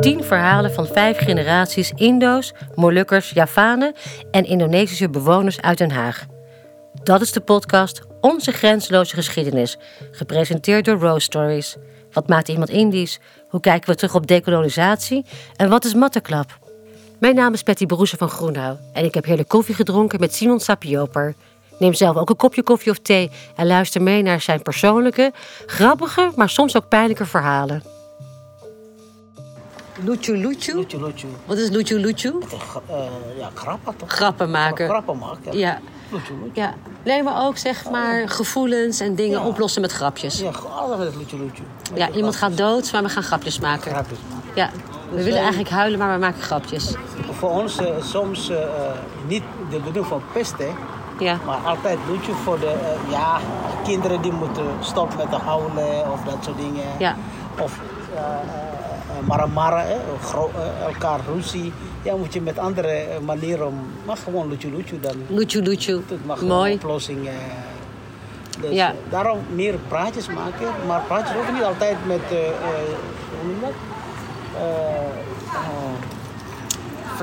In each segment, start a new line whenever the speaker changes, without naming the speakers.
tien verhalen van vijf generaties Indo's, Molukkers, Javanen en Indonesische bewoners uit Den Haag. Dat is de podcast Onze Grenzeloze Geschiedenis, gepresenteerd door Rose Stories. Wat maakt iemand Indisch? Hoe kijken we terug op decolonisatie? En wat is mattenklap? Mijn naam is Patty Broese van Groenhout en ik heb heerlijk koffie gedronken met Simon Sapioper. Neem zelf ook een kopje koffie of thee en luister mee naar zijn persoonlijke, grappige, maar soms ook pijnlijke verhalen. Luchu Luchu?
Lucu, lucu.
Wat is Luchu Luchu?
Gra- eh, ja, grappen toch?
Grappen maken.
Grappen maken.
Ja.
Lucu, lucu.
ja. Nee, maar ook zeg maar gevoelens en dingen
Oh. Ja.
oplossen met grapjes.
Ja, gewoon altijd met het lucu, lucu. Met
Ja,
de
iemand
grap-
gaat dood, maar we gaan grapjes maken.
Grapjes Dus, eh, maken.
Ja. We willen eigenlijk huilen, maar we maken grapjes.
Voor ons eh, soms eh, niet de bedoeling van pesten,
Ja.
maar altijd lucu voor de eh, ja, kinderen die moeten stoppen met de huilen of dat soort dingen.
Ja.
Of eh, maramara, eh, elkaar ruzie. Ja, moet je met andere eh, manieren, om- maar gewoon lucu, lucu dan.
Luchu Luchu.
Het mag een
Mooi.
oplossing. eh, dus
Ja.
eh, daarom meer praatjes maken. Maar praatjes ook niet altijd met, eh, eh, hoe noem je dat? Eh, eh,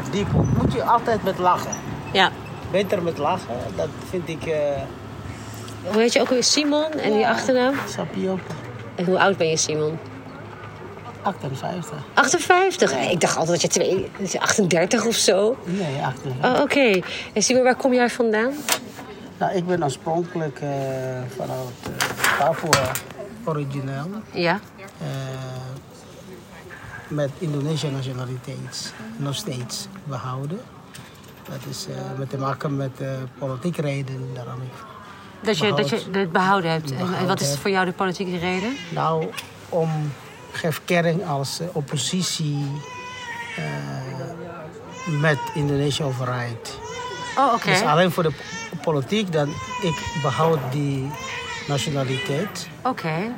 verdiepen. Moet je altijd met lachen.
Ja.
Beter met lachen, dat vind ik. eh
Hoe heet je ook weer? Simon en die achternaam?
Sapio
En hoe oud ben je, Simon?
58.
58. Eh, Ik dacht altijd dat je twee, dat je 38 of zo.
Nee, 58.
Oh, oké. En Simon, waar kom jij vandaan? Eh.
Nou, ik ben oorspronkelijk eh, vanuit eh, Papua origineel.
Ja.
eh, met Indonesische nationaliteit nog steeds behouden. Dat is eh, met te maken met eh politieke reden. Daarom ik,
Dat je, dat je het behouden hebt. En- en wat
Behouden
is
heb.
voor jou de politieke reden?
nou, om geef kering als eh, oppositie eh, met Indonesische overheid.
Oh, oké.
Dus alleen voor de po- politiek dan ik behoud die nationaliteit.
Oké.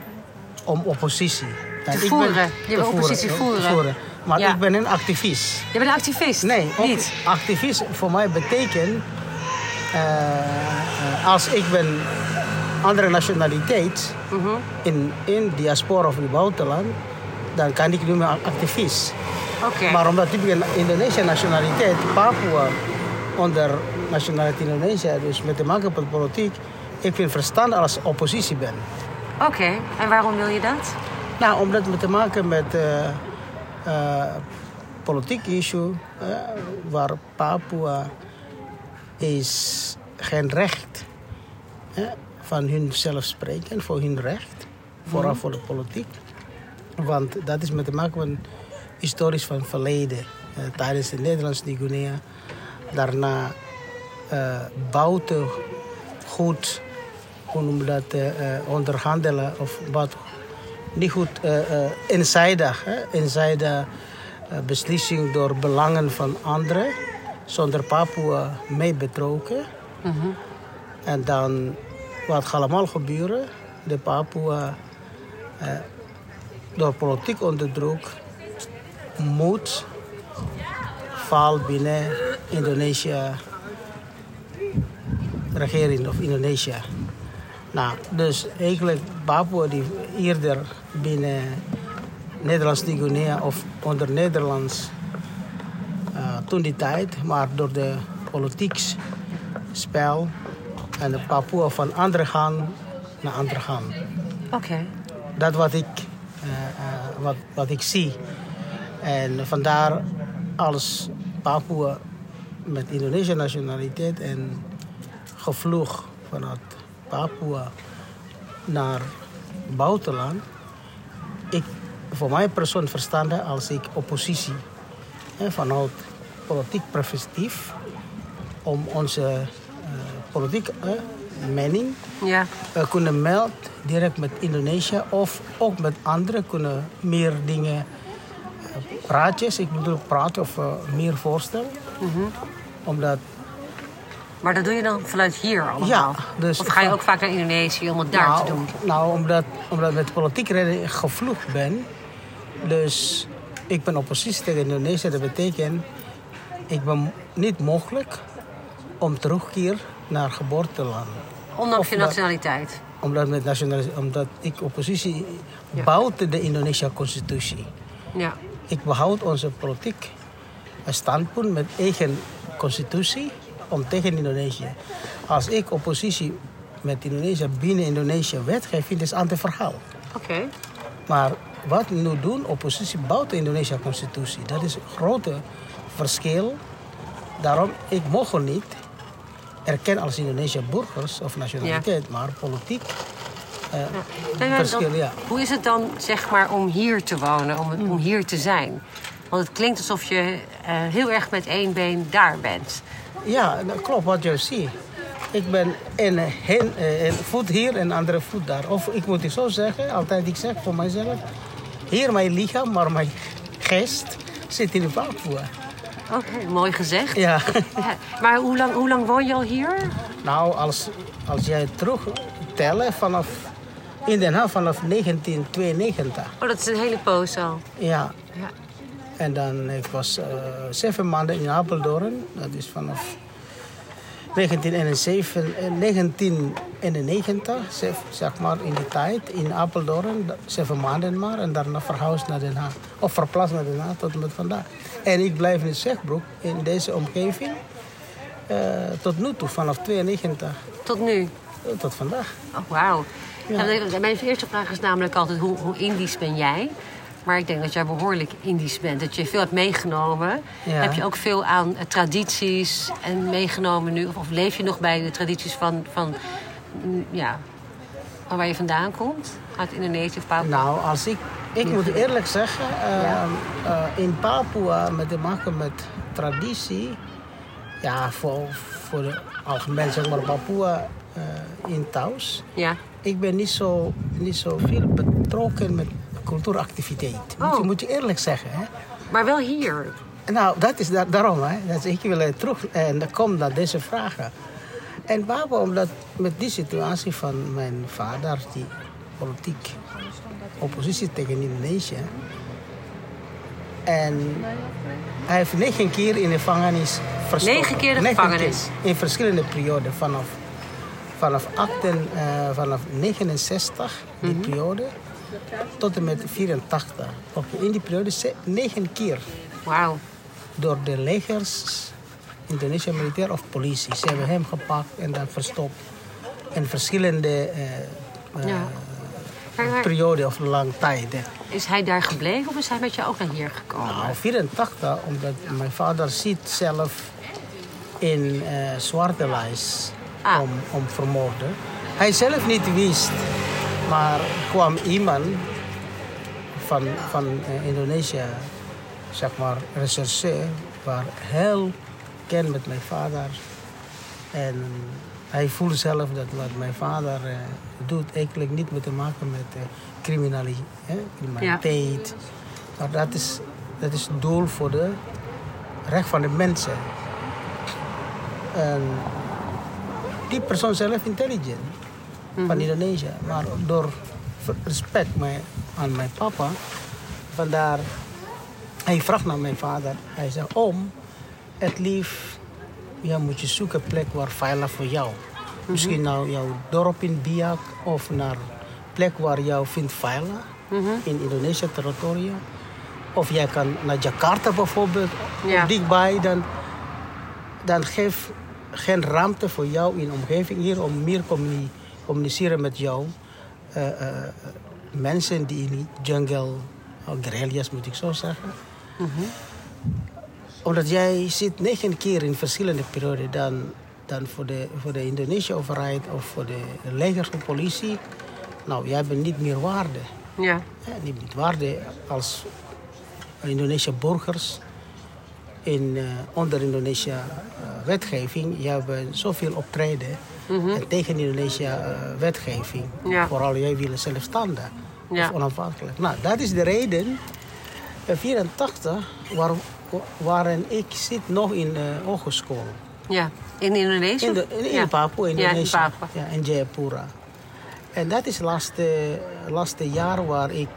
om oppositie. Ja, ik ben-
voeren. Je
te
wil oppositie
te
voeren.
Maar
Ja.
ik ben een activist.
Je bent een activist?
Nee, ook
Niet?
activist voor mij betekent... eh, eh, als ik ben andere nationaliteit
Mhm.
in, in diaspora of in het buitenland... dan kan ik noemen activist.
Oké.
Maar omdat ik een Indonesische nationaliteit, Papua, onder nationaliteit Indonesië... dus met te maken met politiek... ik vind verstand als oppositie ben.
Oké. En waarom wil je dat?
Nou, omdat we te maken met eh eh, politiek issue, eh, waar Papua is geen recht eh, van hun zelf spreken, voor hun recht, vooral voor de politiek. Want dat is met te maken met historisch van verleden. Eh, tijdens de Nederlandse die Guinea, daarna eh buiten goed, hoe noem je dat, eh, eh, onderhandelen of wat niet goed eh eh eenzijdig, hè, eenzijdig eh, beslissing door belangen van anderen, zonder Papua mee betrokken. En dan wat gaat allemaal gebeuren, de Papua eh, door politiek onder druk moet valt binnen Indonesië regering of Indonesië. Nou, dus eigenlijk Papua die eerder binnen Nederlands Guinea of onder Nederlands eh, toen die tijd, maar door de politiek spel en de Papua van andere gang naar andere gang.
Oké.
Dat wat ik, eh, eh, wat, wat ik zie. En vandaar als Papua met Indonesische nationaliteit en gevloeg vanuit Papua naar buitenland. Ik, voor mij persoon verstande als ik oppositie hè, vanuit politiek perspectief om onze eh, politieke eh, mening
Ja.
we Eh, kunnen melden direct met Indonesië of ook met anderen kunnen meer dingen eh, praatjes, ik bedoel praten of eh, meer voorstellen.
Mhm.
Omdat
Maar dat doe je dan vanuit hier allemaal?
Ja, dus
of ga je
van-
ook vaak naar Indonesië om het daar
nou,
te doen?
nou, omdat, omdat ik met politieke reden gevlucht ben. Dus ik ben oppositie tegen Indonesië. Dat betekent, ik ben niet mogelijk om terugkeer naar geboorteland.
Ondanks
of
je
maar-
nationaliteit?
Omdat, met nationalis- omdat ik oppositie bouwde de Indonesische constitutie.
Ja.
Ik behoud onze politiek standpunt met eigen constitutie om tegen Indonesië. Als ik oppositie met Indonesië binnen Indonesië wetgeef, vind ik is een ander dus verhaal.
Oké.
Maar wat we nu doen, oppositie buiten Indonesische constitutie, dat is een grote verschil. Daarom, ik mogen niet erkennen als Indonesische burgers of nationaliteit, maar politiek. eh,
Nee, maar
verschil,
Nou dan-
ja. Mm.
Hoe is het dan zeg maar om hier te wonen, om, om hier te zijn? Want het klinkt alsof je eh, heel erg met één been daar bent.
Ja, dat klopt wat je ziet. Ik ben een, hen- eh, een voet hier en andere voet daar. Of ik moet het zo zeggen, altijd ik zeg voor mijzelf. Hier mijn lichaam, maar mijn geest zit in Papua.
Oké, mooi gezegd.
Ja.
Ja, Maar hoe lang, hoe lang woon je al hier?
Nou, als, als jij terug tellen vanaf in Den Haag vanaf 1992.
Oh, dat is een hele poos al.
Ja.
Ja.
En dan ik was eh, zeven maanden in Apeldoorn. Dat is vanaf 1971, eh, 1991, zeg, zeg maar in die tijd, in Apeldoorn. dat- Zeven maanden maar. En daarna verhuisd naar Den Haag. Of verplaatst naar Den Haag tot en met vandaag. En ik blijf in Zegbroek, in deze omgeving. eh, tot nu toe, vanaf 92
Tot nu.
tot vandaag.
Oh, wauw.
Ja.
Nou, Mijn eerste vraag is namelijk altijd, hoe, hoe Indisch ben jij? Maar ik denk dat jij behoorlijk Indisch bent. Dat je veel hebt meegenomen.
Ja.
Heb je ook veel aan eh, tradities en meegenomen nu? Of, of leef je nog bij de tradities van, van, mm, ja, van waar je vandaan komt? Uit Indonesië of Papua?
Nou, als ik, ik moet eerlijk zeggen, eh, eh, in Papua met te maken met traditie, ja, voor, voor de algemeen zeg maar Papua eh, in thuis,
Ja.
ik ben niet zo, niet zo veel betrokken met cultuuractiviteit. Moet, je,
Oh.
moet je eerlijk zeggen. Hè?
Maar wel hier.
Nou, dat is da- daarom. Hè. Dat is- ik wil eh, terug en dan kom naar deze vragen. En waarom? Omdat met die situatie van mijn vader, die politiek oppositie tegen Indonesië. En hij heeft negen keer in de gevangenis verstoken.
Negen keer de
Negen
gevangenis?
keer. in verschillende perioden. Vanaf, vanaf, 18, eh, vanaf 69, die
Mhm.
periode, tot en met 84. Ook in die periode ze- negen keer
Wauw.
door de legers, Indonesische militair of politie. Ze hebben hem gepakt en dan verstopt. En verschillende eh, eh,
Ja. Maar- maar
perioden of lang tijd. hè.
Is hij daar gebleven of is hij met jou ook naar hier gekomen?
Nou, 84, omdat mijn vader zit zelf in eh zwarte lijst
Ah.
om, om vermoorden. Hij zelf niet wist, maar kwam iemand van, van eh, Indonesië, zeg maar, rechercheur, waar heel ken met mijn vader. En hij voelde zelf dat wat mijn vader eh, doet eigenlijk niet meer te maken met eh, criminali- hè, criminaliteit. Maar dat is, dat is het doel voor de recht van de mensen. En die persoon zelf intelligent van Indonesië. Maar door v- respect mij, aan mijn papa, vandaar, hij vraagt naar mijn vader. Hij zegt, om, het lief, ja, moet je zoeken plek waar veilig voor jou. Misschien naar jouw dorp in Biak of naar plek waar jou vindt veilig in Indonesische territorium. Of jij kan naar Jakarta bijvoorbeeld,
Ja.
dichtbij, dan dan geef geen ruimte voor jou in de omgeving hier om meer communi- communiceren met jou. Eh, eh, eh, mensen die in die jungle, oh, guerrillas moet ik zo zeggen. Omdat jij zit negen keer in verschillende perioden dan, dan voor de, voor de Indonesische overheid of voor de leger of politie. Nou, jij bent niet meer waarde.
Ja.
Ja, die biedt waarde als Indonesische burgers in, eh, onder Indonesische eh, wetgeving. Je hebt zoveel optreden eh, tegen Indonesische eh, wetgeving.
Mhm. Ja.
Vooral jij wil zelfstandig
Ja.
of onafhankelijk. Nou, dat is de reden. In 84 waar, waarin ik zit nog in eh hogeschool.
Ja. In Indonesië?
In, de, in, in
Ja.
Papua, in
Ja, in
Indonesië.
Papua.
Ja, in Jayapura. En dat is het laatste, laatste jaar waar ik,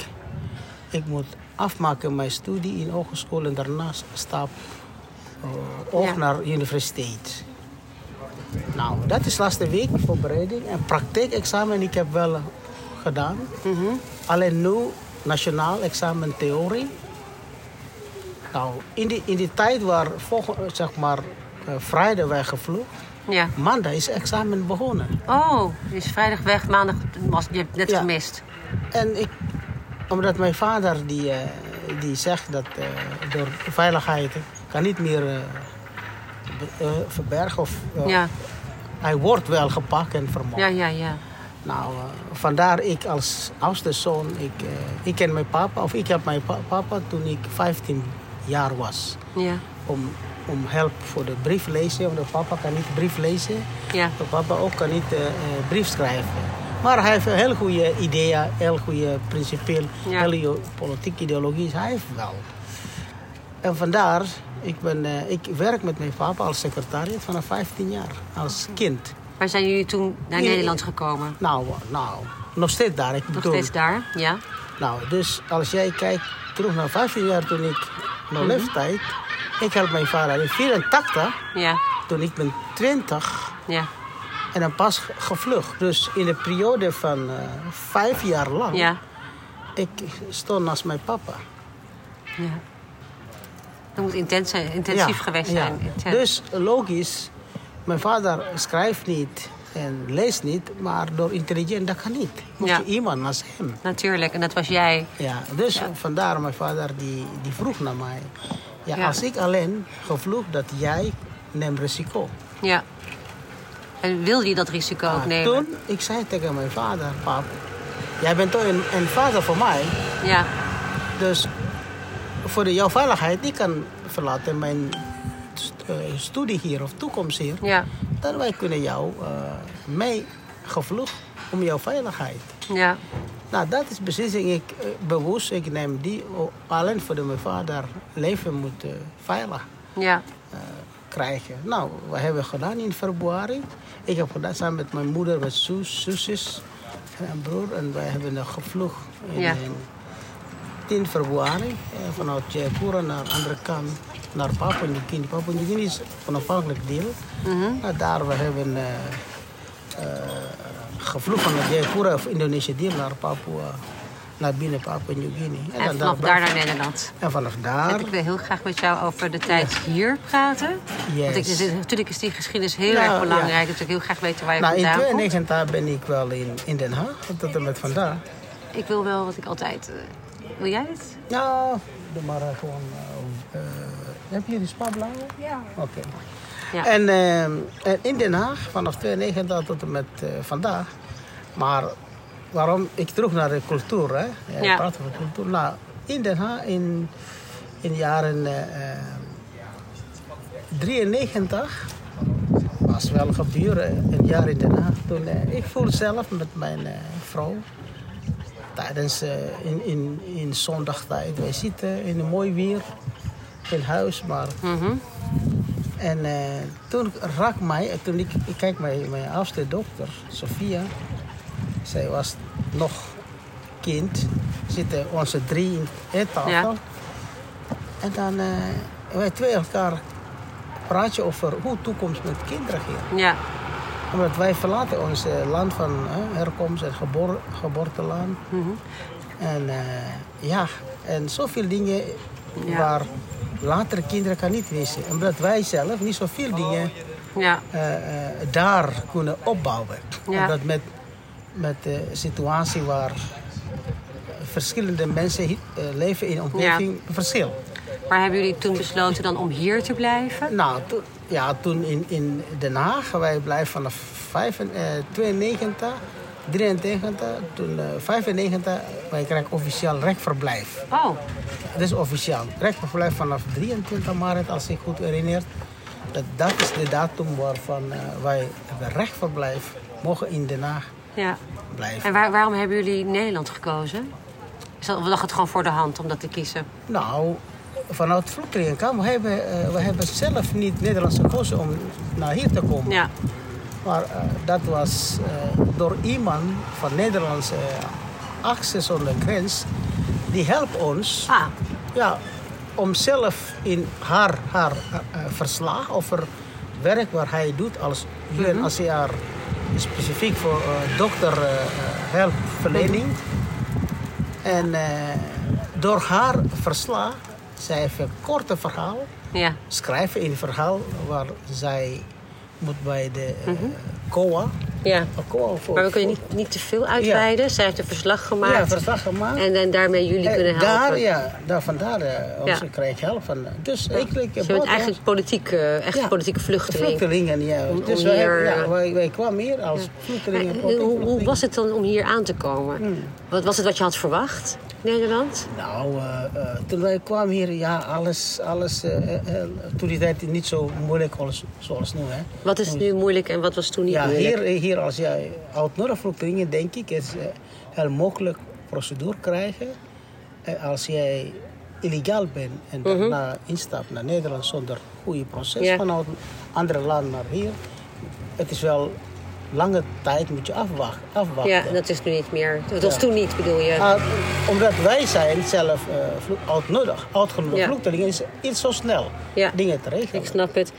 ik moet afmaken mijn studie in hogeschool en daarnaast stap eh, ook
Ja.
naar universiteit. Nou, dat is laatste week voorbereiding en praktijkexamen. Ik heb wel
Mhm.
gedaan. Alleen nu nationaal examen theorie Nou, in die, in die tijd waar volg- zeg maar, eh, vrijdag wij gevlogen,
Ja.
maandag is examen begonnen.
Oh, je is vrijdag weg, maandag was je hebt net
Ja.
gemist.
En ik, omdat mijn vader die, eh, die zegt dat eh, door veiligheid kan niet meer eh, be- eh, verbergen of eh,
Ja,
hij wordt wel gepakt en vermoord.
ja, ja, ja.
Nou, eh, vandaar ik als oudste zoon, ik, eh, ik ken mijn papa, of ik heb mijn pa- papa toen ik 15 jaar was.
Ja,
Om, om help voor de brief lezen, want de papa kan niet brief lezen.
ja.
Mijn papa ook kan niet eh, eh, brief schrijven. Maar hij heeft een heel goede ideeën, heel goede principeel,
Ja.
hele jo- politieke ideologie. is Hij heeft wel. En vandaar, ik, ben, eh, ik werk met mijn papa als secretaris vanaf 15 jaar, als kind.
Waar zijn jullie toen naar
Ja.
Nederland gekomen?
Nou, nou, nog steeds daar. Ik
Nog
bedoel.
steeds daar? Ja.
Nou, dus als jij kijkt terug naar 15 jaar toen ik mijn
Mhm.
leeftijd. Ik help mijn vader in 84,
Ja,
toen ik ben 20.
ja,
En dan pas ge- gevlucht. Dus in de periode van eh, vijf jaar lang,
ja.
ik stond naast mijn papa.
ja. Dat moet intens zijn, intensief geweest
ja.
zijn. Intens.
Dus logisch, mijn vader schrijft niet en leest niet, maar door intelligent dat kan niet. Moet
Ja.
je iemand naast hem.
Natuurlijk, en dat was jij.
Ja, dus vandaar mijn vader die, die vroeg naar mij. Ja,
Ja.
als ik alleen gevloeg dat jij neemt risico.
Ja. En wilde je dat risico ook
Maar
nemen?
Ah, toen, ik zei tegen mijn vader, pap, jij bent toch een, een vader voor mij.
Ja,
Dus voor de, jouw veiligheid, ik kan verlaten mijn st- eh, studie hier of toekomst hier.
ja,
Dan wij kunnen jou eh, mee gevlucht om jouw veiligheid.
ja.
Nou, dat is beslissing. Ik eh, bewust, ik neem die o- alleen voor de, mijn vader leven moet eh, veilig
Ja,
eh, krijgen. Nou, we hebben gedaan in februari. Ik heb gedaan samen met mijn moeder, met zus, zusjes en een broer. En wij hebben een gevlucht in,
Ja.
eh, 10 februari eh, vanuit Jaipura naar de andere kant, naar Papua Nieuw-Guinea. Papua Nieuw-Guinea is een onafhankelijk deel.
Mhm.
Nou, daar we hebben eh eh, gevlucht van Jaipura of Indonesische deel naar Papua, naar binnen Papua Nieuw-Guinea.
en
dan
vanaf daar naar Nederland.
En vanaf daar.
Ik wil heel graag met jou over de tijd hier praten. Want ik,
Yes.
natuurlijk is die geschiedenis heel
Ja,
erg
ja.
belangrijk. Dus ik wil graag weten waar je
Nou, in
vandaan komt.
92 ben ik wel in, in Den Haag, tot en met vandaag.
Ik wil wel wat ik altijd... eh, wil jij het?
Nou, doe maar eh, gewoon... eh, eh, heb je die spaarblauwe? Ja. Oké.
Ja.
En, eh, en in Den Haag, vanaf 92 tot en met eh, vandaag. Maar waarom ik terug naar de cultuur, hè? Ja,
Ja.
Praten over cultuur. Nou, in Den Haag in, in de jaren eh, eh, 93 was wel gebeuren, een jaar in Den Haag. Toen, eh, ik voel zelf met mijn eh, vrouw tijdens eh, in, in, in zondagtijd. Wij zitten in een mooi weer in huis, maar
Mhm.
en eh, toen raak mij, eh, toen ik, ik kijk mijn, mijn oudste dochter, Sofia, zij was nog kind, zitten onze drie in het tafel.
Ja.
En dan eh, wij twee elkaar praten over hoe toekomst met kinderen gaat.
Ja,
Omdat wij verlaten ons eh, land van eh, herkomst en geboor, geboorteland.
Mhm.
En eh, ja, en zoveel dingen
Ja.
waar later kinderen kan niet wisten. Omdat wij zelf niet zoveel dingen
ja,
eh, eh, daar kunnen opbouwen.
Ja.
Omdat met, met de situatie waar verschillende mensen hi- eh, leven in omgeving verschil.
Maar hebben jullie toen besloten dan om hier te blijven?
Nou, toen, ja, toen in, in Den Haag, wij blijven vanaf 5, en, eh, 92, 93, toen eh, 95, wij krijgen officieel rechtverblijf.
Oh,
Dat is officieel. Rechtverblijf vanaf 23 maart, als ik goed herinner. Dat, dat is de datum waarvan eh, wij hebben rechtverblijf mogen in Den Haag
ja.
blijven.
En waar- waarom hebben jullie Nederland gekozen? Is dat- Of lag het gewoon voor de hand om dat te kiezen?
Nou, vanuit vluchtelingenkamp hebben eh, we hebben zelf niet Nederlands gekozen om naar hier te komen.
Ja,
Maar eh, dat was eh, door iemand van Nederlandse actie zonder grens. Die helpt ons
ah,
ja, om zelf in haar, haar eh, eh, verslag over werk waar hij doet als UNHCR. Specifiek voor eh, dokter eh, eh, hulpverlening. En eh, door haar verslag Zij heeft een korte verhaal,
Ja.
schrijven in een verhaal waar zij moet bij de eh, COA.
ja.
Een Oh, COA voor,
Maar we kunnen niet, niet te veel uitweiden. Zij heeft een verslag gemaakt.
Ja, verslag gemaakt.
En, en daarmee jullie
Eh,
kunnen helpen.
Daar, ja, daar vandaar eh, ons
Ja.
krijg je hulp van. Dus ik, ik
Ze bent eigenlijk politiek, eh, echt
Ja.
politieke vluchteling.
vluchtelingen. Ja.
Om-
dus
om
wij,
hier,
ja,
eh,
wij, wij kwamen hier als vluchtelingen. Hmm.
Maar, eh, hoe, hoe was het dan om hier aan te komen? Wat was het wat je had verwacht, Nederland?
Nou, eh, eh, toen wij kwamen hier, ja, alles, alles eh, eh, eh, toen die tijd niet zo moeilijk als, zoals nu. Hè.
Wat is nu moeilijk en wat was toen niet
Ja,
moeilijk?
hier, hier als jij oud-Noord-vluchtelingen, denk ik, is eh, heel mogelijk procedure krijgen. eh, als jij illegaal bent en daarna instapt naar Nederland zonder goede proces
Mhm. Ja.
vanuit een ander land naar hier. Het is wel lange tijd moet je afwachten. afwachten.
Ja, dat is nu niet meer. Dat was toen niet, bedoel je?
Maar omdat wij zijn zelf eh vlo- oud-nodig, oud-genoeg
Ja.
vluchtelingen, is iets zo snel
Ja.
dingen te regelen.
Ik snap het.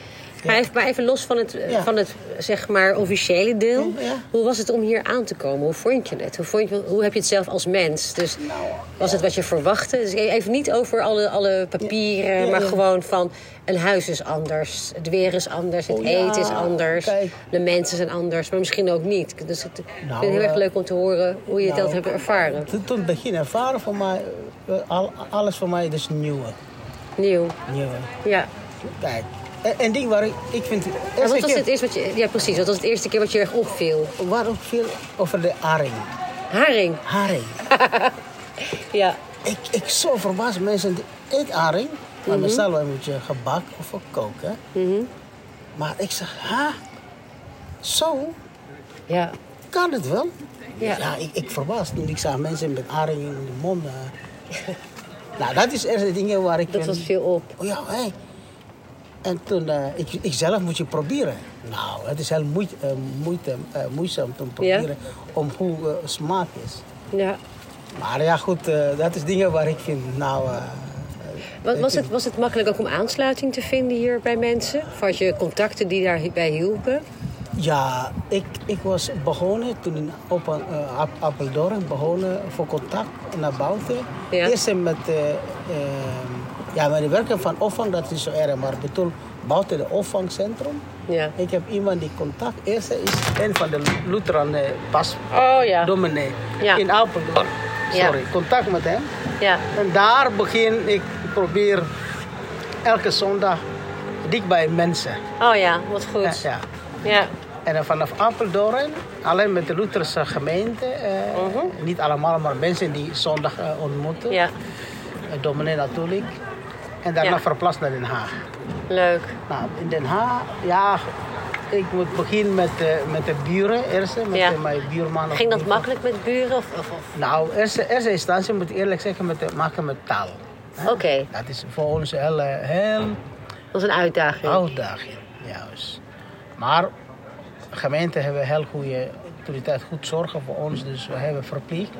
Maar, even, maar even los van het, eh,
Ja.
van het zeg maar, officiële deel.
Ja.
Hoe was het om hier aan te komen? Hoe vond je het? Hoe, vond je, hoe heb je het zelf als mens? Dus
Nou,
was het wat je verwachtte? Dus e- even niet over alle, alle papieren,
Ja, ja,
maar
ja.
gewoon van een huis is anders, het weer is anders, het
Oh, ja.
eten is anders,
Kijk.
de mensen zijn anders, maar misschien ook niet. Dus het, ik vind
Nou,
het heel erg
eh,
leuk om te horen hoe je dat
nou,
hebt ervaren.
Toen, toen het begin ervaren voor mij, eh, al, alles voor mij dus nieuwe.
Nieuw.
nieuwe.
Ja.
Kijk, en, en ding waar ik, ik vind,
En
eerste
wat was
keer
het eerst wat je, ja, precies. Wat was het eerste keer wat je erg opviel?
waar ook veel over de haring.
Haring.
Haring.
Ja.
ik, ik zo verbaasd, mensen die eten haring,
Mhm.
maar meestal wij moet je gebakken of koken. Maar ik zeg, ha, zo
Ja.
kan het wel.
Ja.
Ja, ik, ik verbaasd toen ik zag mensen met haring in de mond. eh. nou, dat is echt de dingen waar ik
Dat
ben-
was veel op.
Oh ja, hé. En toen, eh, ik, ik zelf moet je proberen. Nou, het is heel moeit- eh, moeite, eh, moeizaam te proberen om hoe eh, smaak is.
Ja.
Maar ja, goed, eh, dat is dingen waar ik vind, nou... eh,
Wat, was, het, was het makkelijk ook om aansluiting te vinden hier bij mensen? Of had je contacten die daarbij hielpen?
ja, ik, ik was begonnen toen in op, eh, Ap- Apeldoorn, begonnen voor contact naar buiten.
Ja.
Eerst met, eh, eh, ja, met de werken van opvang, dat is niet zo erg, maar bedoel, buiten het opvangcentrum.
Ja.
Ik heb iemand die contact. Eerste is een van de Lutheran eh, pas
Oh ja.
dominee
Ja.
in Apeldoorn.
Ja.
Sorry, contact met hem.
Ja.
En daar begin ik probeer elke zondag dik bij mensen.
Oh ja, wat goed.
Ja, ja.
Ja.
En dan vanaf Apeldoorn, alleen met de Lutherse gemeente, eh, niet allemaal, maar mensen die zondag eh, ontmoeten,
Mhm. Ja.
Eh, dominee natuurlijk. En daarna
Ja.
verplaatst naar Den Haag.
Leuk.
Nou, in Den Haag, ja, ik moet beginnen met, eh, met de buren eerst, met
Ja.
eh, mijn buurman. of
Ging dat
niet.
makkelijk met buren? Of, of, of-
Nou, eerste, eerste instantie moet ik eerlijk zeggen, met, te maken met taal.
Oké,
Dat is voor ons heel, eh, heel
dat is een uitdaging.
Oh. uitdaging, juist. Maar de gemeente hebben heel goede, toen die tijd goed zorgen voor ons, dus we hebben verplicht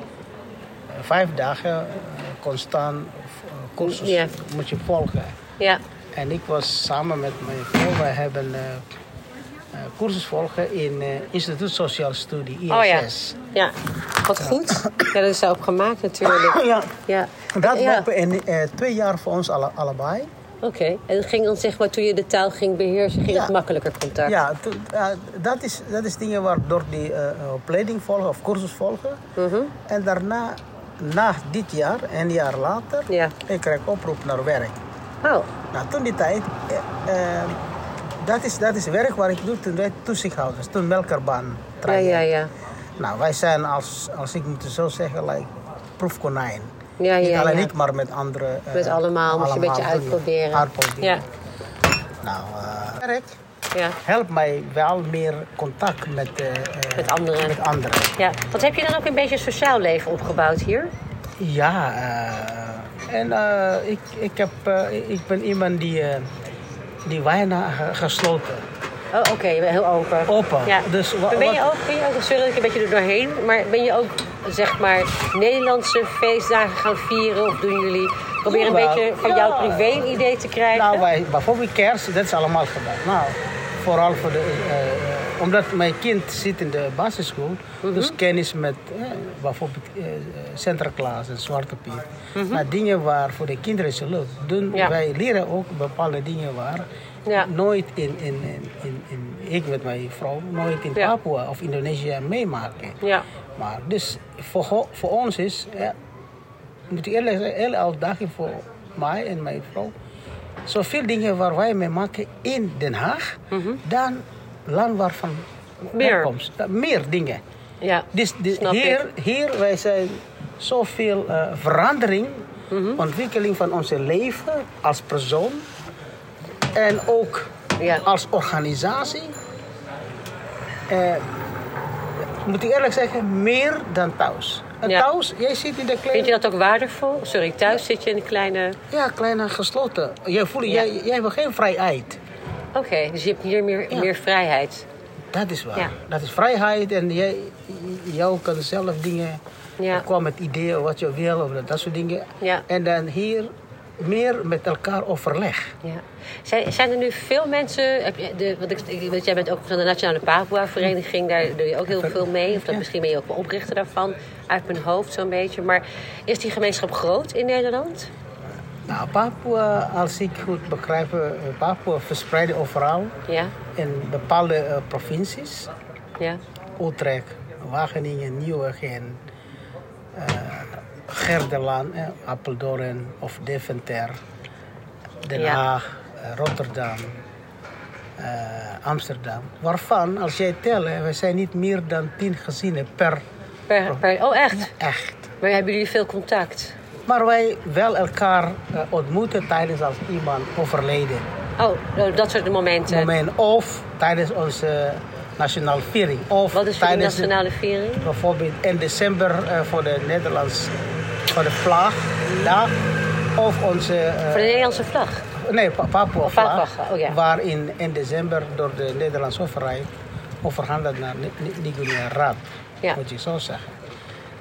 eh, vijf dagen eh, constant eh, cursus
Ja.
moet je volgen.
Ja.
En ik was samen met mijn vrouw, wij hebben eh, eh, cursus volgen in eh Instituut Sociaal Studie, ISS.
Oh ja. Ja. Wat goed. Ja, dat is daarop gemaakt natuurlijk.
Ja,
Ja.
Dat
ja.
lopen in eh, twee jaar voor ons alle, allebei.
Oké. En het ging dan zeg maar, toen je de taal ging beheersen, ging
Ja.
het makkelijker contact?
Ja, to- eh, dat, is, dat is dingen waardoor die eh, eh, opleiding volgen of cursus volgen.
Mhm.
En daarna, na dit jaar, een jaar later,
Ja.
ik krijg oproep naar werk.
Oh.
Nou, toen die tijd, eh, eh, dat, is, dat is werk waar ik doe toen wij toezichthouders, toen melkerbaan
Ja, ja, ja.
Nou, wij zijn als, als ik moet het zo zeggen, like, proefkonijn.
Ja,
Niet
ja,
alleen
ja.
ik, maar met andere. eh,
Met allemaal, moest je een beetje
allemaal doen.
uitproberen.
Uitproberen.
Ja.
Nou, eh, werk
Ja.
helpt mij wel meer contact met, eh, eh,
Met anderen.
met anderen.
Ja, wat heb je dan ook een beetje een sociaal leven opgebouwd hier?
Ja, eh, en eh, ik, ik, heb, eh, ik ben iemand die, eh, die weinig ge- gesloten.
Oh, oké, je bent heel open.
Open.
Ja.
Dus wa-
Maar ben je
wat-
ook, ben je ook, sorry dat ik een beetje er doorheen, maar ben je ook zeg maar Nederlandse feestdagen gaan vieren? Of doen jullie, proberen een
Jawel,
beetje van
ja.
jouw privé een idee te krijgen?
Nou, wij, bijvoorbeeld kerst, dat is allemaal gedaan. Nou, vooral voor de eh, eh, omdat mijn kind zit in de basisschool,
Mhm.
dus kennis met eh, bijvoorbeeld eh, Sinterklaas en Zwarte Piet. Maar dingen waar voor de kinderen is leuk. Doen,
Mhm. Ja.
Wij leren ook bepaalde dingen waar
Ja.
nooit in, in, in, in, in- ik met mijn vrouw, nooit in
Ja.
Papua of Indonesië meemaken.
Ja.
Maar dus voor, ho- voor ons is, eh, moet ik eerlijk zeggen, hele uitdaging voor mij en mijn vrouw. Zoveel dingen waar wij mee maken in Den Haag, dan land waarvan
Mhm. Meer.
opkomst. Ja, meer dingen.
Ja,
Dus de-
Snap
hier, hier, wij zijn zoveel eh, verandering,
Mhm.
ontwikkeling van ons leven als persoon en ook
Ja.
als organisatie. Eh, moet ik eerlijk zeggen, meer dan thuis. En
Ja.
thuis, jij zit in de
Vind je
kleine,
dat ook waardevol? Sorry, thuis zit je in een kleine...
ja, kleine gesloten. Jij voelt,
Ja.
jij, jij hebt geen vrijheid.
Oké, dus je hebt hier meer,
Ja.
meer vrijheid.
Dat is waar.
Ja.
Dat is vrijheid en jij, jou kan zelf dingen
Ja.
komen met ideeën wat je wil of dat soort dingen.
Ja.
En dan hier meer met elkaar overleg.
Ja. Zijn, zijn er nu veel mensen... Heb je de, want ik, ik weet, jij bent ook van de Nationale Papua-vereniging. Daar doe je ook heel veel mee. Of dat, misschien ben je ook wel oprichter daarvan. Uit mijn hoofd zo'n beetje. Maar is die gemeenschap groot in Nederland?
Nou, Papua, als ik goed begrijp, eh, Papua verspreid overal
Ja,
in bepaalde eh, provincies.
ja,
Utrecht, Wageningen, Nieuwegein, eh, Gerdeland, eh, Apeldoorn of Deventer, Den
Ja.
Haag, eh, Rotterdam, eh, Amsterdam. Waarvan, als jij telt, hè, we zijn niet meer dan tien gezinnen per
Per, per- oh, echt?
echt.
Maar hebben jullie veel contact?
Maar wij wel elkaar eh, ontmoeten tijdens als iemand overleden.
Oh, nou, dat soort momenten.
Moment, of tijdens onze nationale viering. Of
Wat is jullie
tijdens
nationale viering?
bijvoorbeeld in december eh, voor de Nederlands voor de vlag dag of onze eh,
Voor de Nederlandse vlag.
nee Pa- Papua
Oh,
vlag
Papua, oh ja.
waarin in december door de Nederlandse overheid overhandeld naar Nigeria Raad
Ja.
moet je zo zeggen.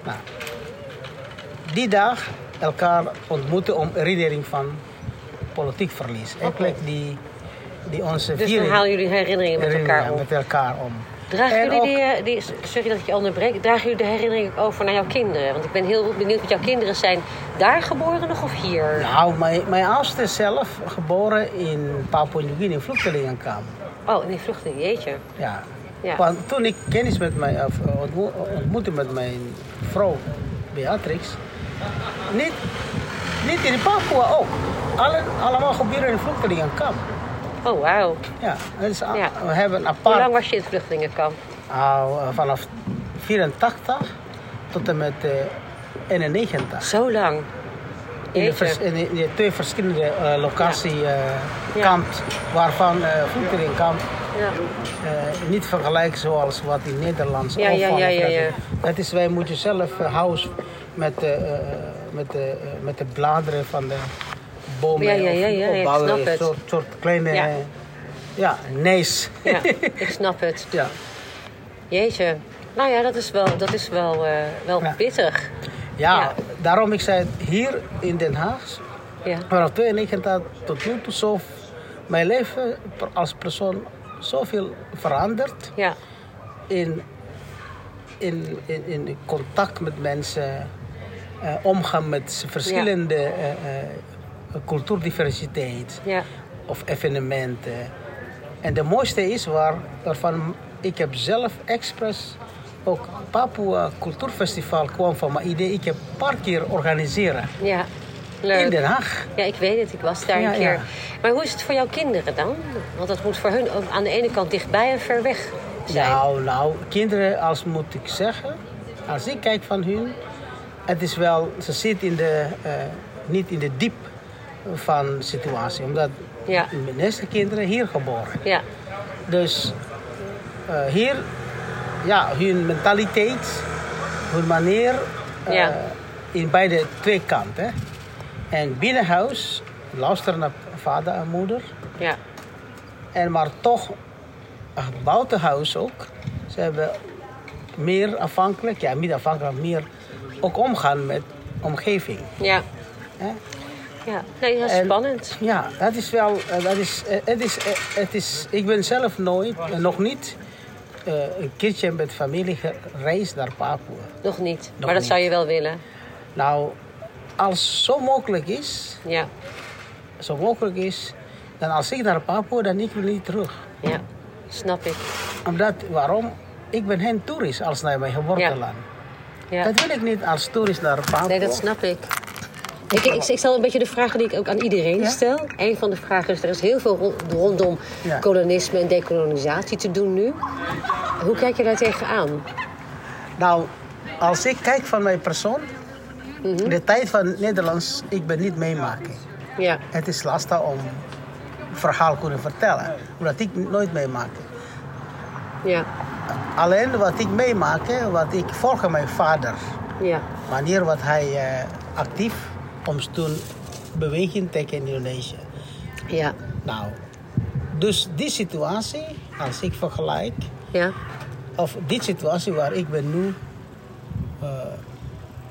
Nou, die dag elkaar ontmoeten om herinnering van politiek verlies. Eigenlijk die, die onze
Dus dan
viering
halen jullie herinneringen met elkaar
herinneringen
op.
met elkaar om.
Dragen
En
jullie
ook-
die, eh, die, sorry dat ik je onderbreek, dragen jullie de herinnering ook over naar jouw kinderen? Want ik ben heel benieuwd wat jouw kinderen zijn. Daar geboren nog of hier?
Nou, mijn, mijn oudste is zelf geboren in Papua-Nieuw-Guinea, vluchtelingenkamp.
Oh, nee, vluchteling, jeetje.
Ja.
Ja.
Want toen ik kennis met mijn, of eh, ontmo- ontmoette met mijn vrouw Beatrix, niet, niet in Papua ook. Alle, allemaal gebeuren in vluchtelingenkamp.
Oh, wauw.
Ja, dat is a-
Ja.
we hebben een
Hoe
apart
lang was je in het vluchtelingenkamp?
ah, vanaf 84 tot en met eh, 91.
Zo lang.
In de,
Jeetje.
vers- in de- in de twee verschillende eh locatie eh,
Ja.
kamps, waarvan eh vluchtelingenkamp
Ja.
eh, niet vergelijk zoals wat in Nederland
Ja, ja,
opvallen.
ja, ja, ja.
Dat is, wij moeten zelf eh, house met de, eh, met, de, eh, met de bladeren van de bomen
Ja, ja, ja, ja, ja, ik
opbouwen.
snap het.
Een soort, soort kleine
Ja.
ja. Ja, nees.
ja, ik snap het.
Ja.
Jeetje. Nou ja, dat is wel, dat is wel, eh, wel
Ja.
pittig.
Ja,
Ja.
daarom ik zei het, hier in Den Haag,
Ja.
vanaf 92 tot nu toe, zo, mijn leven per- als persoon zoveel veranderd.
Ja.
in, in, in, in contact met mensen, eh, omgaan met verschillende eh, eh, cultuurdiversiteit
Ja.
of evenementen. En de mooiste is waar, waarvan ik heb zelf expres ook Papua Cultuurfestival kwam van mijn idee. Ik heb een paar keer organiseren
Ja. Leuk.
in Den Haag.
Ja, ik weet het. Ik was daar
Ja,
een keer.
ja.
Maar hoe is het voor jouw kinderen dan? Want dat moet voor hun ook aan de ene kant dichtbij en ver weg zijn.
Nou, nou, kinderen, als moet ik zeggen, als ik kijk van hun, het is wel, ze zitten in de, eh, niet in de diep van de situatie, omdat
Ja.
de meeste kinderen hier geboren.
Ja,
Dus eh, hier, ja, hun mentaliteit, hun manier, eh,
Ja.
in beide twee kanten. En binnenhuis, luisteren naar vader en moeder.
ja,
En maar toch, eh, buitenhuis ook, ze hebben meer afhankelijk, ja, niet afhankelijk, meer ook omgaan met omgeving.
ja.
Hè?
ja. Nee, dat is
En-
spannend.
Ja, dat is wel, eh, dat is, eh, het is, eh, het is, ik ben zelf nooit, eh, nog niet eh, een keertje met familie gereisd naar Papua.
Nog niet. maar
Nog
dat
niet.
zou je wel willen.
Nou, als zo mogelijk is,
Ja.
zo mogelijk is, dan als ik naar Papua, dan ik wil niet terug.
ja, snap ik.
Omdat, waarom? Ik ben geen toerist als naar mijn geboorteland.
Ja.
Dat wil ik niet als toerist naar Papua.
Nee, dat snap ik. Ik, ik, ik stel een beetje de vragen die ik ook aan iedereen
Ja?
stel. Een van de vragen is, er is heel veel ro- rondom
Ja.
kolonisme en dekolonisatie te doen nu. Hoe kijk je daar tegenaan?
Nou, als ik kijk van mijn persoon,
Mhm.
de tijd van Nederlands, ik ben niet meemaken.
Ja,
Het is lastig om verhaal kunnen vertellen, omdat ik nooit meemaak.
ja,
Alleen wat ik meemaak, wat ik volg mijn vader,
ja,
wanneer wat hij eh, actief om toen beweging tegen Indonesië.
ja,
Nou, dus die situatie, als ik vergelijk,
ja,
of die situatie waar ik ben nu eh,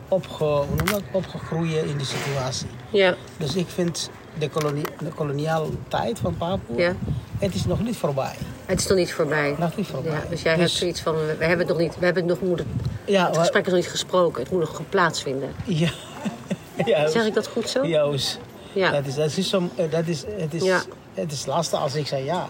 opge, hoe noem dat? opgegroeid in die situatie.
ja,
Dus ik vind de, kolonie, de koloniale tijd van Papua,
Ja.
het is nog niet voorbij.
het is nog niet voorbij.
Nog niet voorbij.
Ja, dus jij
Dus- Oh,
hebt zoiets van, we hebben het nog niet, we hebben het nog, moet het,
Ja,
het
wa-
gesprek is nog niet gesproken, het moet nog plaatsvinden.
Ja. ja dus-
Zeg ik dat goed zo?
Ja, hoes.
Ja.
Dat is, dat is, som- eh, dat is, het, is
Ja.
het is lastig als ik zeg ja.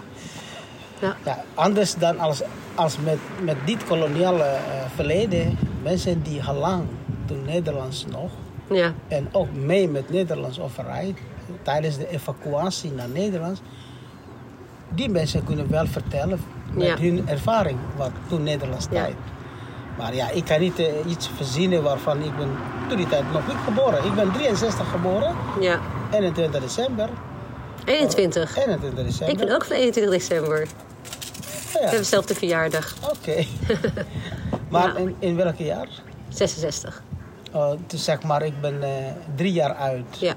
Ja,
ja anders dan als, als met, met dit koloniale eh, verleden, mensen die al lang toen Nederlands nog
ja,
en ook mee met Nederlands overheid tijdens de evacuatie naar Nederland, die mensen kunnen wel vertellen met
Ja.
hun ervaring wat toen Nederlands
Ja.
tijd. Maar ja, ik kan niet eh, iets verzinnen waarvan ik ben toen die tijd nog niet geboren. Ik ben 63 geboren,
ja.
21 december.
21.
21
Ik
december.
ben ook van 21 december. We
Ja,
hebben dezelfde verjaardag.
Oké. maar
Ja.
in, in welk jaar?
66.
Oh, dus zeg maar, ik ben eh, drie jaar uit.
Ja.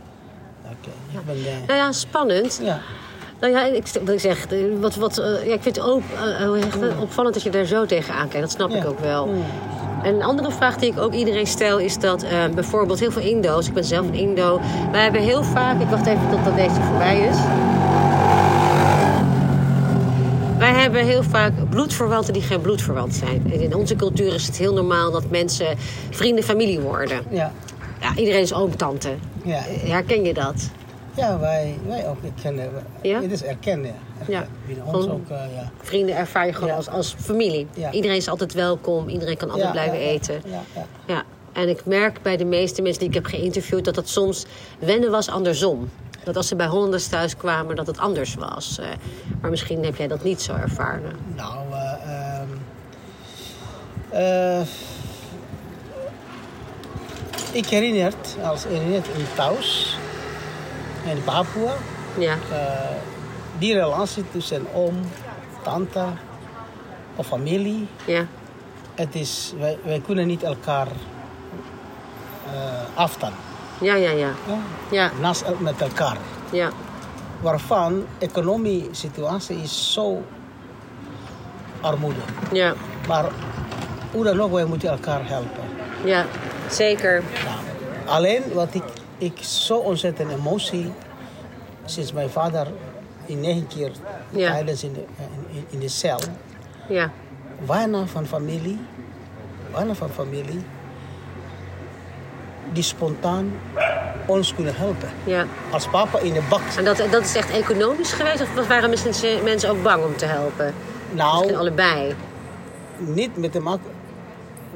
Oké, ik ben... eh,
Nou ja, spannend.
ja.
Nou ja, ik, wat ik zeg, eh, wat, wat, eh, ja, ik vind het ook eh, hoe zeg je dat, opvallend dat je daar zo tegenaan kijkt. Dat snap ik
Ja.
ook wel. En een andere vraag die ik ook iedereen stel is dat eh, bijvoorbeeld heel veel Indo's, ik ben zelf een Indo, wij hebben heel vaak, ik wacht even totdat deze voorbij is. Wij hebben heel vaak bloedverwanten die geen bloedverwant zijn. En in onze cultuur is het heel normaal dat mensen vrienden, familie worden.
Ja.
Ja, iedereen is oom, tante.
Ja.
Herken je dat?
Ja, wij, wij ook erkennen.
Ja?
Het is erkennen.
Ja.
Binnen ons
Van-
ook, eh, ja.
Vrienden ervaar je gewoon
Ja.
als, als familie.
Ja.
Iedereen is altijd welkom, iedereen kan altijd
Ja,
blijven
ja, ja,
eten.
Ja, ja.
Ja. En ik merk bij de meeste mensen die ik heb geïnterviewd dat dat soms wennen was andersom. Dat als ze bij Hollanders thuis kwamen, dat het anders was. Eh, maar misschien heb jij dat niet zo ervaren.
Nou, eh, ehm, eh, ik herinner het als herinnert in Taos, in Papua,
Ja,
eh, die relatie tussen oom, tante of familie.
ja,
Het is, wij, wij kunnen niet elkaar eh afstaan.
ja, ja, ja.
Ja?
Ja,
Naast el- met elkaar.
ja,
waarvan de economische situatie is zo armoede.
ja,
Maar hoe dan ook, wij moeten elkaar helpen.
ja. Zeker.
Nou, alleen wat ik, ik zo ontzettend emotie sinds mijn vader in negen keer
Ja.
tijdens in de, in, in- in de cel.
Ja,
Weinig van familie, weinig van familie die spontaan ons kunnen helpen.
ja.
Als papa in de bak zit.
En dat, dat is echt economisch geweest? Of waren mensen, mensen ook bang om te helpen? Misschien
Nou,
allebei.
niet met te maken.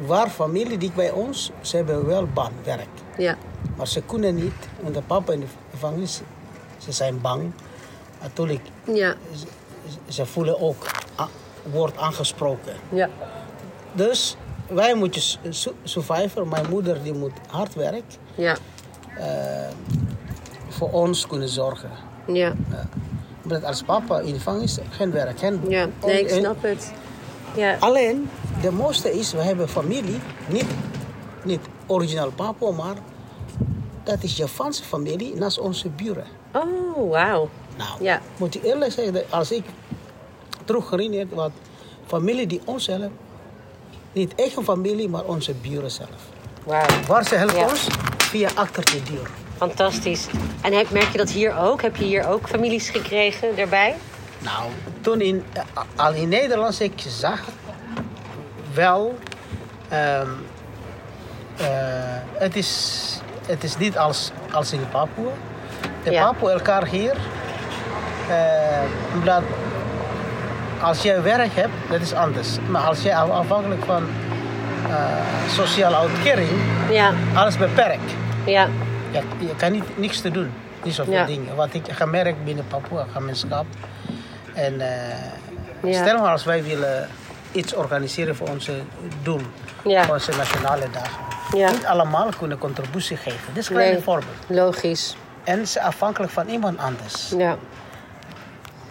Waar familie die bij ons, ze hebben wel baanwerk.
Ja,
Maar ze kunnen niet, want de papa in de gevangenis, ze zijn bang. Natuurlijk,
ja,
ze, ze voelen ook, a- wordt aangesproken.
ja.
Dus wij moeten su- su- survivor, mijn moeder die moet hard werk,
Ja,
voor ons kunnen zorgen.
ja,
Ja. Omdat als papa in de gevangenis, geen werk, geen...
ja. Nee, ik
Eh, en-
snap het. Ja,
Alleen, de mooiste is, we hebben familie, niet, niet origineel Papua, maar dat is Japanse familie naast onze buren.
oh, wauw.
Nou,
Ja.
moet ik eerlijk zeggen, dat als ik terug herinner wat familie die ons helpt, niet eigen familie, maar onze buren zelf.
Wauw,
Waar ze helpen
Ja.
ons? Via achter de deur.
fantastisch. En heb, merk je dat hier ook? Heb je hier ook families gekregen daarbij?
Nou, toen in, eh, al in Nederland ik zag, wel, ehm, eh, het, is, het is niet als, als in Papua. De
Ja.
Papua elkaar hier, eh, omdat als jij werk hebt, dat is anders. Maar als jij af- afhankelijk van eh, sociale uitkering,
Ja,
alles beperkt.
ja,
Ja, je kan niet, niks te doen. Niet zoveel
Ja.
dingen. Wat ik gemerkt binnen Papua, gemeenschap. En eh,
Ja.
stel maar als wij willen iets organiseren voor onze doel.
Ja.
Voor onze nationale dagen.
Ja.
Niet allemaal kunnen contributie geven. Dit is een klein
Nee.
voorbeeld.
logisch.
En ze zijn afhankelijk van iemand anders.
Ja,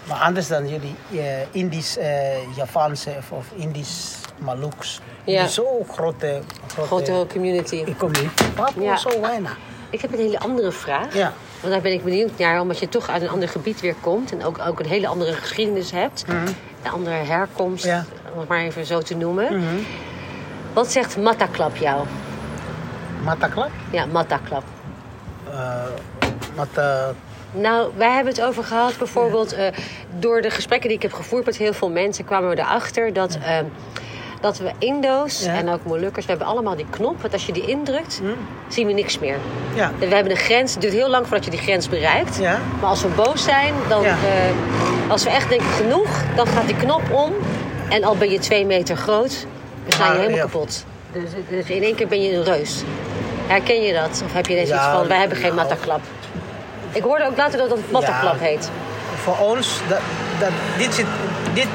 Maar anders dan jullie eh, Indisch, eh, Javaanse of, of Indisch Maluks.
Ja.
Die zo grote, grote,
grotere community.
community. Papua
Ja.
zo weinig.
Ik heb een hele andere vraag.
Ja.
Want daar ben ik benieuwd naar, omdat je toch uit een ander gebied weer komt en ook, ook een hele andere geschiedenis hebt. Een andere herkomst,
Mhm. Ja. Mhm.
om het maar even zo te noemen. Wat zegt Mataklap jou?
Mataklak?
Ja, Mataklap.
eh wat, eh,
Nou, wij hebben het over gehad bijvoorbeeld. eh, door de gesprekken die ik heb gevoerd met heel veel mensen kwamen we erachter dat. eh, dat we Indo's
Ja.
en ook Molukkers, we hebben allemaal die knop. Want als je die indrukt, zien we niks meer.
ja.
We hebben een grens, het duurt heel lang voordat je die grens bereikt.
Ja.
Maar als we boos zijn, dan,
Ja.
eh, als we echt denken genoeg, dan gaat die knop om. En al ben je twee meter groot, dan sla je
Maar,
helemaal
ja.
kapot. Dus, dus in één keer ben je een reus. Herken je dat? Of heb je ineens
Ja,
iets van, wij hebben geen
nou.
mataklap? Ik hoorde ook later dat het mataklap
Ja.
heet.
Voor ons, dat, dat, dit, zit, dit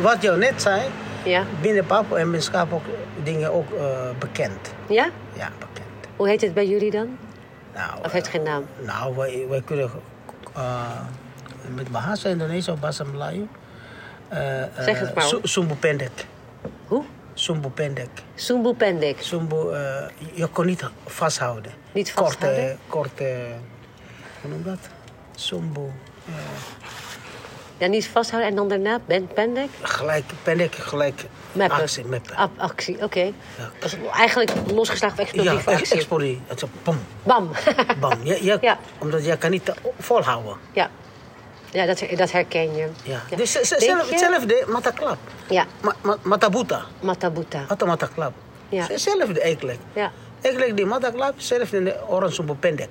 wat je net zei,
Ja?
binnen Papua en Minskap ook dingen ook eh, bekend.
Ja?
Ja, bekend.
Hoe heet het bij jullie dan?
Nou,
Of heeft het geen naam?
eh, nou wij, wij kunnen eh, met Bahasa Indonesië of Bahasa Melayu. eh, eh,
Zeg het maar.
Su- Sumbu pendek.
Hoe?
Sumbu pendek.
Soemboe Pendik.
Sumbu, eh, je- je kon niet vasthouden.
Niet
Korte,
vasthouden?
korte, hoe noem dat? Sumbu. eh,
Ja, niet vasthouden en dan daarna Ben Pendik?
Gelijk, ben ik gelijk.
Meppen.
Actie, meppen.
Ap- actie, oké.
Ja.
Dat is Eigenlijk losgeslagen of
ja,
explosieve
echt
actie.
explodie. Het is pom,
Bam.
bam. Je, je,
Ja.
Omdat jij kan niet te- volhouden.
ja, ja dat, dat herken je.
Ja. Dus ze- ze-
Denk
zelf,
je-
hetzelfde, mataklap.
Ja,
Ma, ma, matabuta.
Matabuta.
Mata mataklap.
Ja.
Ze- Hetzelfde eigenlijk.
Ja.
Eigenlijk die mataklap, hetzelfde in de orang sumbu pendek.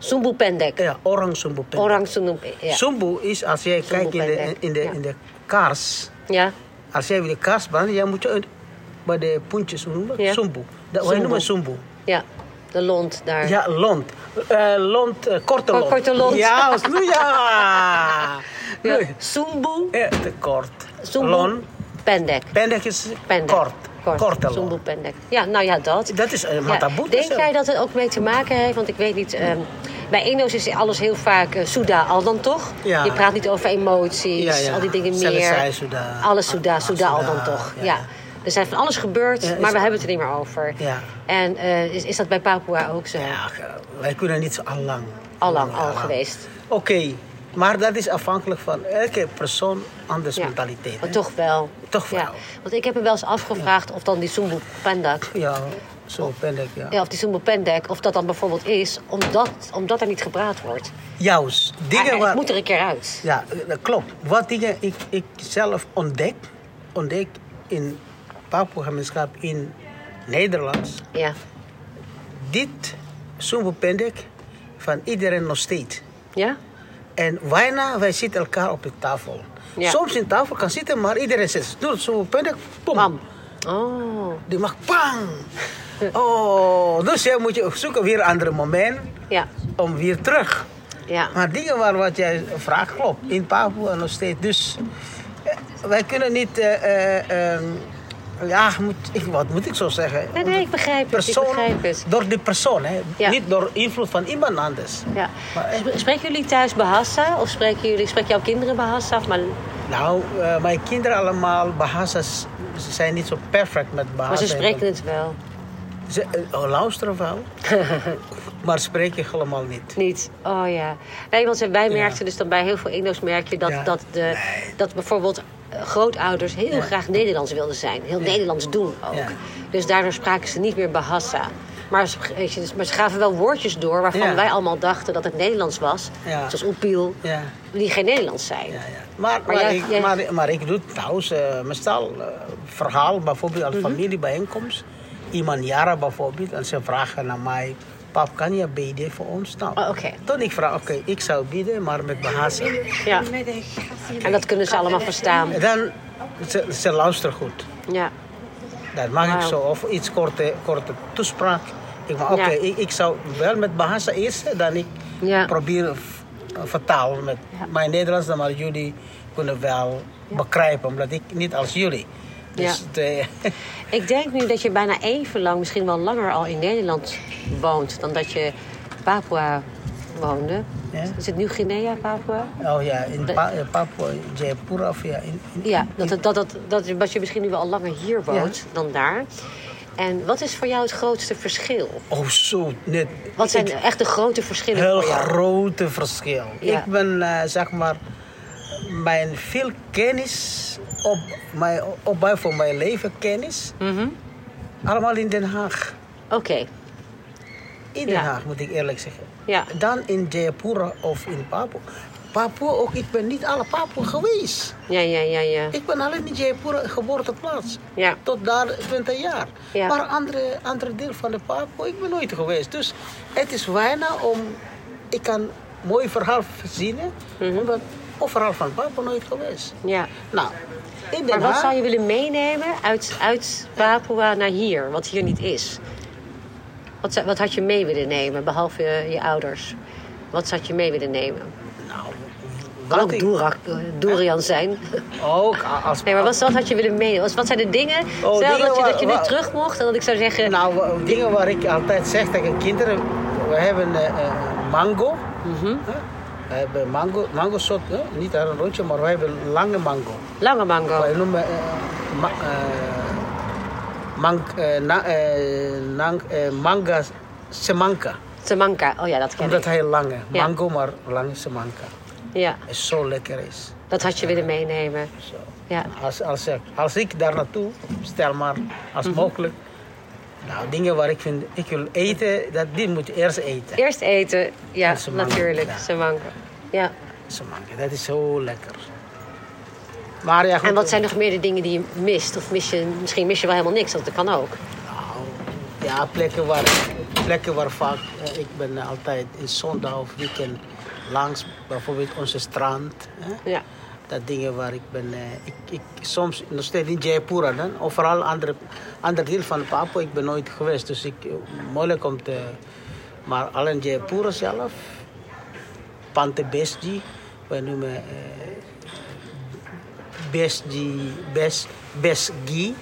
Sumbu Pendek.
Ja, orang sumbu Eh, pendek.
Orang Sumbu. Ja.
Sumbu is als jij kijkt in de,
pendek, Ya.
in, de,
ja.
in de kaars.
ja.
Als jij de kaars brandt, jij moet je een- bij de puntjes noemen.
Ja.
Sumbu. Dat, wij
Ya. Sumbu.
noemen sumbu.
Ja, de lont daar.
Ja, lont. Eh, lont, eh, korte
Kor-
lont.
korte lont.
Ja, was nu ja.
Ja,
Nu.
Sumbu,
Eh, te kort.
Sumbu
Lont.
Pendek.
Pendek is
Pendek.
kort. Korte
Sumbu
lont.
Pendek. Ja, nou ja, dat.
Dat is een mataboet.
Denk jij dat het ook mee te maken heeft? Want ik weet niet, ehm, bij Indo's is alles heel vaak eh, Soeda al dan toch?
Ja.
Je praat niet over emoties,
Ja, ja.
al die dingen
Zelfs
meer.
zij, Soeda.
Alles Soeda,
Ah,
Soeda al
Soeda,
dan toch. Ja.
ja.
Er zijn van alles gebeurd,
is-
maar we hebben het er niet meer over.
Ja.
En eh, is, is dat bij Papua ook zo?
Ja, wij kunnen niet zo al lang.
Allang al geweest.
Oké, maar dat is afhankelijk van elke persoon anders
Ja.
mentaliteit.
Maar
hè.
toch wel.
Toch
Ja.
wel.
Want ik heb me wel eens afgevraagd of dan die Sumbu Pendak...
Ja, zo pendek, ja.
Ja, of die Sumbu Pendek, of dat dan bijvoorbeeld is, omdat, omdat er niet gepraat wordt.
Juist. Dingen
Maar
waar...
Het Ah, moet er een keer uit.
Ja, dat klopt. Wat dingen ik, ik zelf ontdek, ontdek in Papua-gemeenschap in Nederland,
Ja,
dit Sumbu Pendek van iedereen nog steeds.
ja?
En bijna, wij zitten elkaar op de tafel.
Ja.
Soms in tafel kan zitten, maar iedereen zegt, doe het Sumbu Pendek, pom.
Bam. Oh,
Die mag pang. Oh, dus jij moet je zoeken weer een ander moment
ja.
om weer terug.
Ja.
Maar dingen waar wat jij vraagt klopt. In Papua nog steeds. Dus eh, wij kunnen niet. eh, eh, eh, ja, moet, ik, wat moet ik zo zeggen?
Nee, nee, ik begrijp het. Ik
Persoon,
begrijp het.
Door die persoon, hè?
Ja.
niet door invloed van iemand anders.
ja.
Maar, eh,
Sp- Spreken jullie thuis Bahasa? Of spreken jullie, spreek jouw kinderen Bahasa? Of maar,
nou, eh, mijn kinderen allemaal, Bahasa, ze zijn niet zo perfect met Bahasa.
maar ze spreken het wel.
Ze eh, luisteren wel, maar spreken helemaal niet.
Niet. Oh ja. Nee, want wij merkten dus dan bij heel veel Indo's merk je dat,
Ja.
dat, de, dat bijvoorbeeld eh, grootouders heel graag Nederlands wilden zijn. Heel Nederlands doen ook.
Ja.
Dus daardoor spraken ze niet meer Bahasa. Maar ze, weet je, maar ze gaven wel woordjes door waarvan
Ja.
wij allemaal dachten dat het Nederlands was.
Ja.
Zoals oepiel,
Ja.
die geen Nederlands zijn.
Ja, ja. Maar, maar,
jij-
ik,
jij-
Maar, maar ik doe trouwens eh, meestal eh, verhaal, bijvoorbeeld
Mhm.
als familiebijeenkomst. Iemand jaren bijvoorbeeld, en ze vragen naar mij... Pap, kan je bidden voor ons? Nou,
Oh, oké.
Toen ik vraag, oké, ik zou bidden, maar met behazing.
Ja. En dat kunnen ze allemaal verstaan.
En dan, ze, ze luisteren goed.
Ja.
Dat mag ik
Wauw.
zo. Of iets korte, korte toespraak. Ik, maar, oké,
Ja.
ik, ik zou wel met Bahasa eerst, dan ik
Ja.
probeer v- vertalen met mijn Nederlands, dan maar jullie kunnen wel begrijpen, omdat ik niet als jullie. Dus
Ja.
de-
Ik denk nu dat je bijna even lang, misschien wel langer al in Nederland woont dan dat je Papua woonde.
Ja.
Is het nu Guinea, Papua?
oh ja, in pa, eh, Papua, Jaipur of ja. In, in-
Ja, dat, dat, dat, dat, dat, dat je misschien nu wel al langer hier woont dan daar. En wat is voor jou het grootste verschil?
oh zo, net.
Wat zijn
Ik-
echt de grote verschillen
Heel
voor jou?
grote verschil.
Ja.
Ik ben eh, zeg maar mijn veel kennis op mijn opbouw voor mijn leven kennis. Allemaal in Den Haag.
Mhm. Oké,
In Den
Ja.
Haag moet ik eerlijk zeggen.
Ja.
Dan in Jaipur of in Papua. Papua ook. Ik ben niet alle Papua geweest.
ja, ja, ja, ja.
Ik ben alleen in Jaipur geboorteplaats.
Ja.
Tot daar 20 jaar.
Ja.
Maar andere, andere deel van de Papua, ik ben nooit geweest. Dus het is weinig om... Ik kan een mooi verhaal verzinnen.
Mhm.
Omdat overal van Papua nooit geweest.
ja.
Nou, in Den
Maar wat
Haag-
zou je willen meenemen uit, uit Papua naar hier, wat hier niet is? Wat, zou- wat had je mee willen nemen, behalve je, je ouders? Wat zou je mee willen nemen?
Nou,
Kan
wat
ook
ik-
Doerak, eh, Durian zijn.
Ook als...
Nee, maar wat, wat had je willen meenemen? Wat, wat zijn de dingen? Stel
Oh, dingen
dat je, dat je
waar-
nu
waar-
terug mocht en dat ik zou zeggen...
Nou, w- dingen waar ik altijd zeg tegen kinderen. We hebben eh, eh, mango. hè? We hebben mango, mango soort, hè? niet een roodje, maar we hebben lange mango.
lange mango.
Wij noemen eh, ma- eh, mang- eh, na- eh, nang- eh, manga semanka.
Tamanka. Oh ja, dat ken
Omdat
ik.
hij lang is.
Ja.
Mango, maar lang semanka.
Ja,
Is zo lekker is.
dat had je willen meenemen.
Zo.
Ja.
Als, als, ik, als ik daar naartoe, stel maar als
Mhm.
mogelijk. Nou, dingen waar ik vind, ik wil eten, dat, die moet je eerst eten.
Eerst eten. Ja,
En Samanka,
natuurlijk.
ja.
Samanka. Ja.
Semangka, dat is zo lekker. Maar ja, goed,
En wat zijn nog meer de dingen die je mist? Of mis je, misschien mis je wel helemaal niks, want dat kan ook.
Nou, ja, plekken waar, plekken waar vaak... eh, ik ben altijd in zondag of weekend langs bijvoorbeeld onze strand. Hè?
Ja.
Dat dingen waar ik ben... eh, ik, ik, soms nog steeds in Jaipur, dan, overal andere, ander deel van Papua. Ik ben nooit geweest, dus ik, moeilijk om te... Maar alleen Jaipur zelf, Pantebesti, wij noemen... eh, Besgi, Bes, Besgi,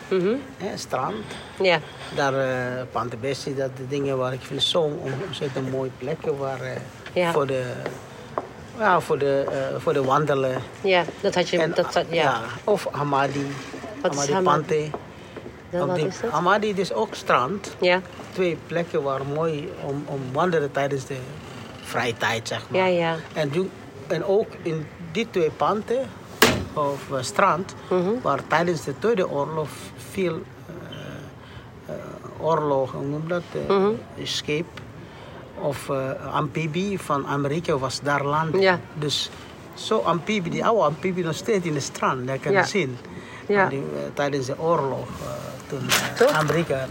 hè, strand.
Ja.
Daar, eh Pantebesti, dat de dingen waar ik vind zo'n ontzettend mooie plekken waar eh,
Ja.
voor de, ja, voor de, eh, voor de wandelen.
Ja, dat had je... dat, dat, ja.
of Hamadi,
Wat is
Hamadi
Hamadi?
Pante.
Dat-
Op
wat
die-
is dat?
Hamadi is ook strand.
Ja.
Twee plekken waar mooi om, om wandelen tijdens de vrije tijd, zeg maar.
Ja, ja.
En, doe- en ook in die twee panden, of eh, strand,
Mhm.
waar tijdens de Tweede Oorlog veel eh, eh, oorlogen, hoe noem dat, eh,
Mhm.
scheep of eh amfibie van Amerika was daar land.
Ja.
Dus zo amfibie, die oude amfibie nog steeds in de strand, dat kan je
Ja.
zien.
Ja.
En die, eh, tijdens de oorlog, eh, toen eh,
Toch?
Amerika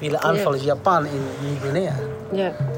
willen aanvallen Japan in, in Guinea.
Ja.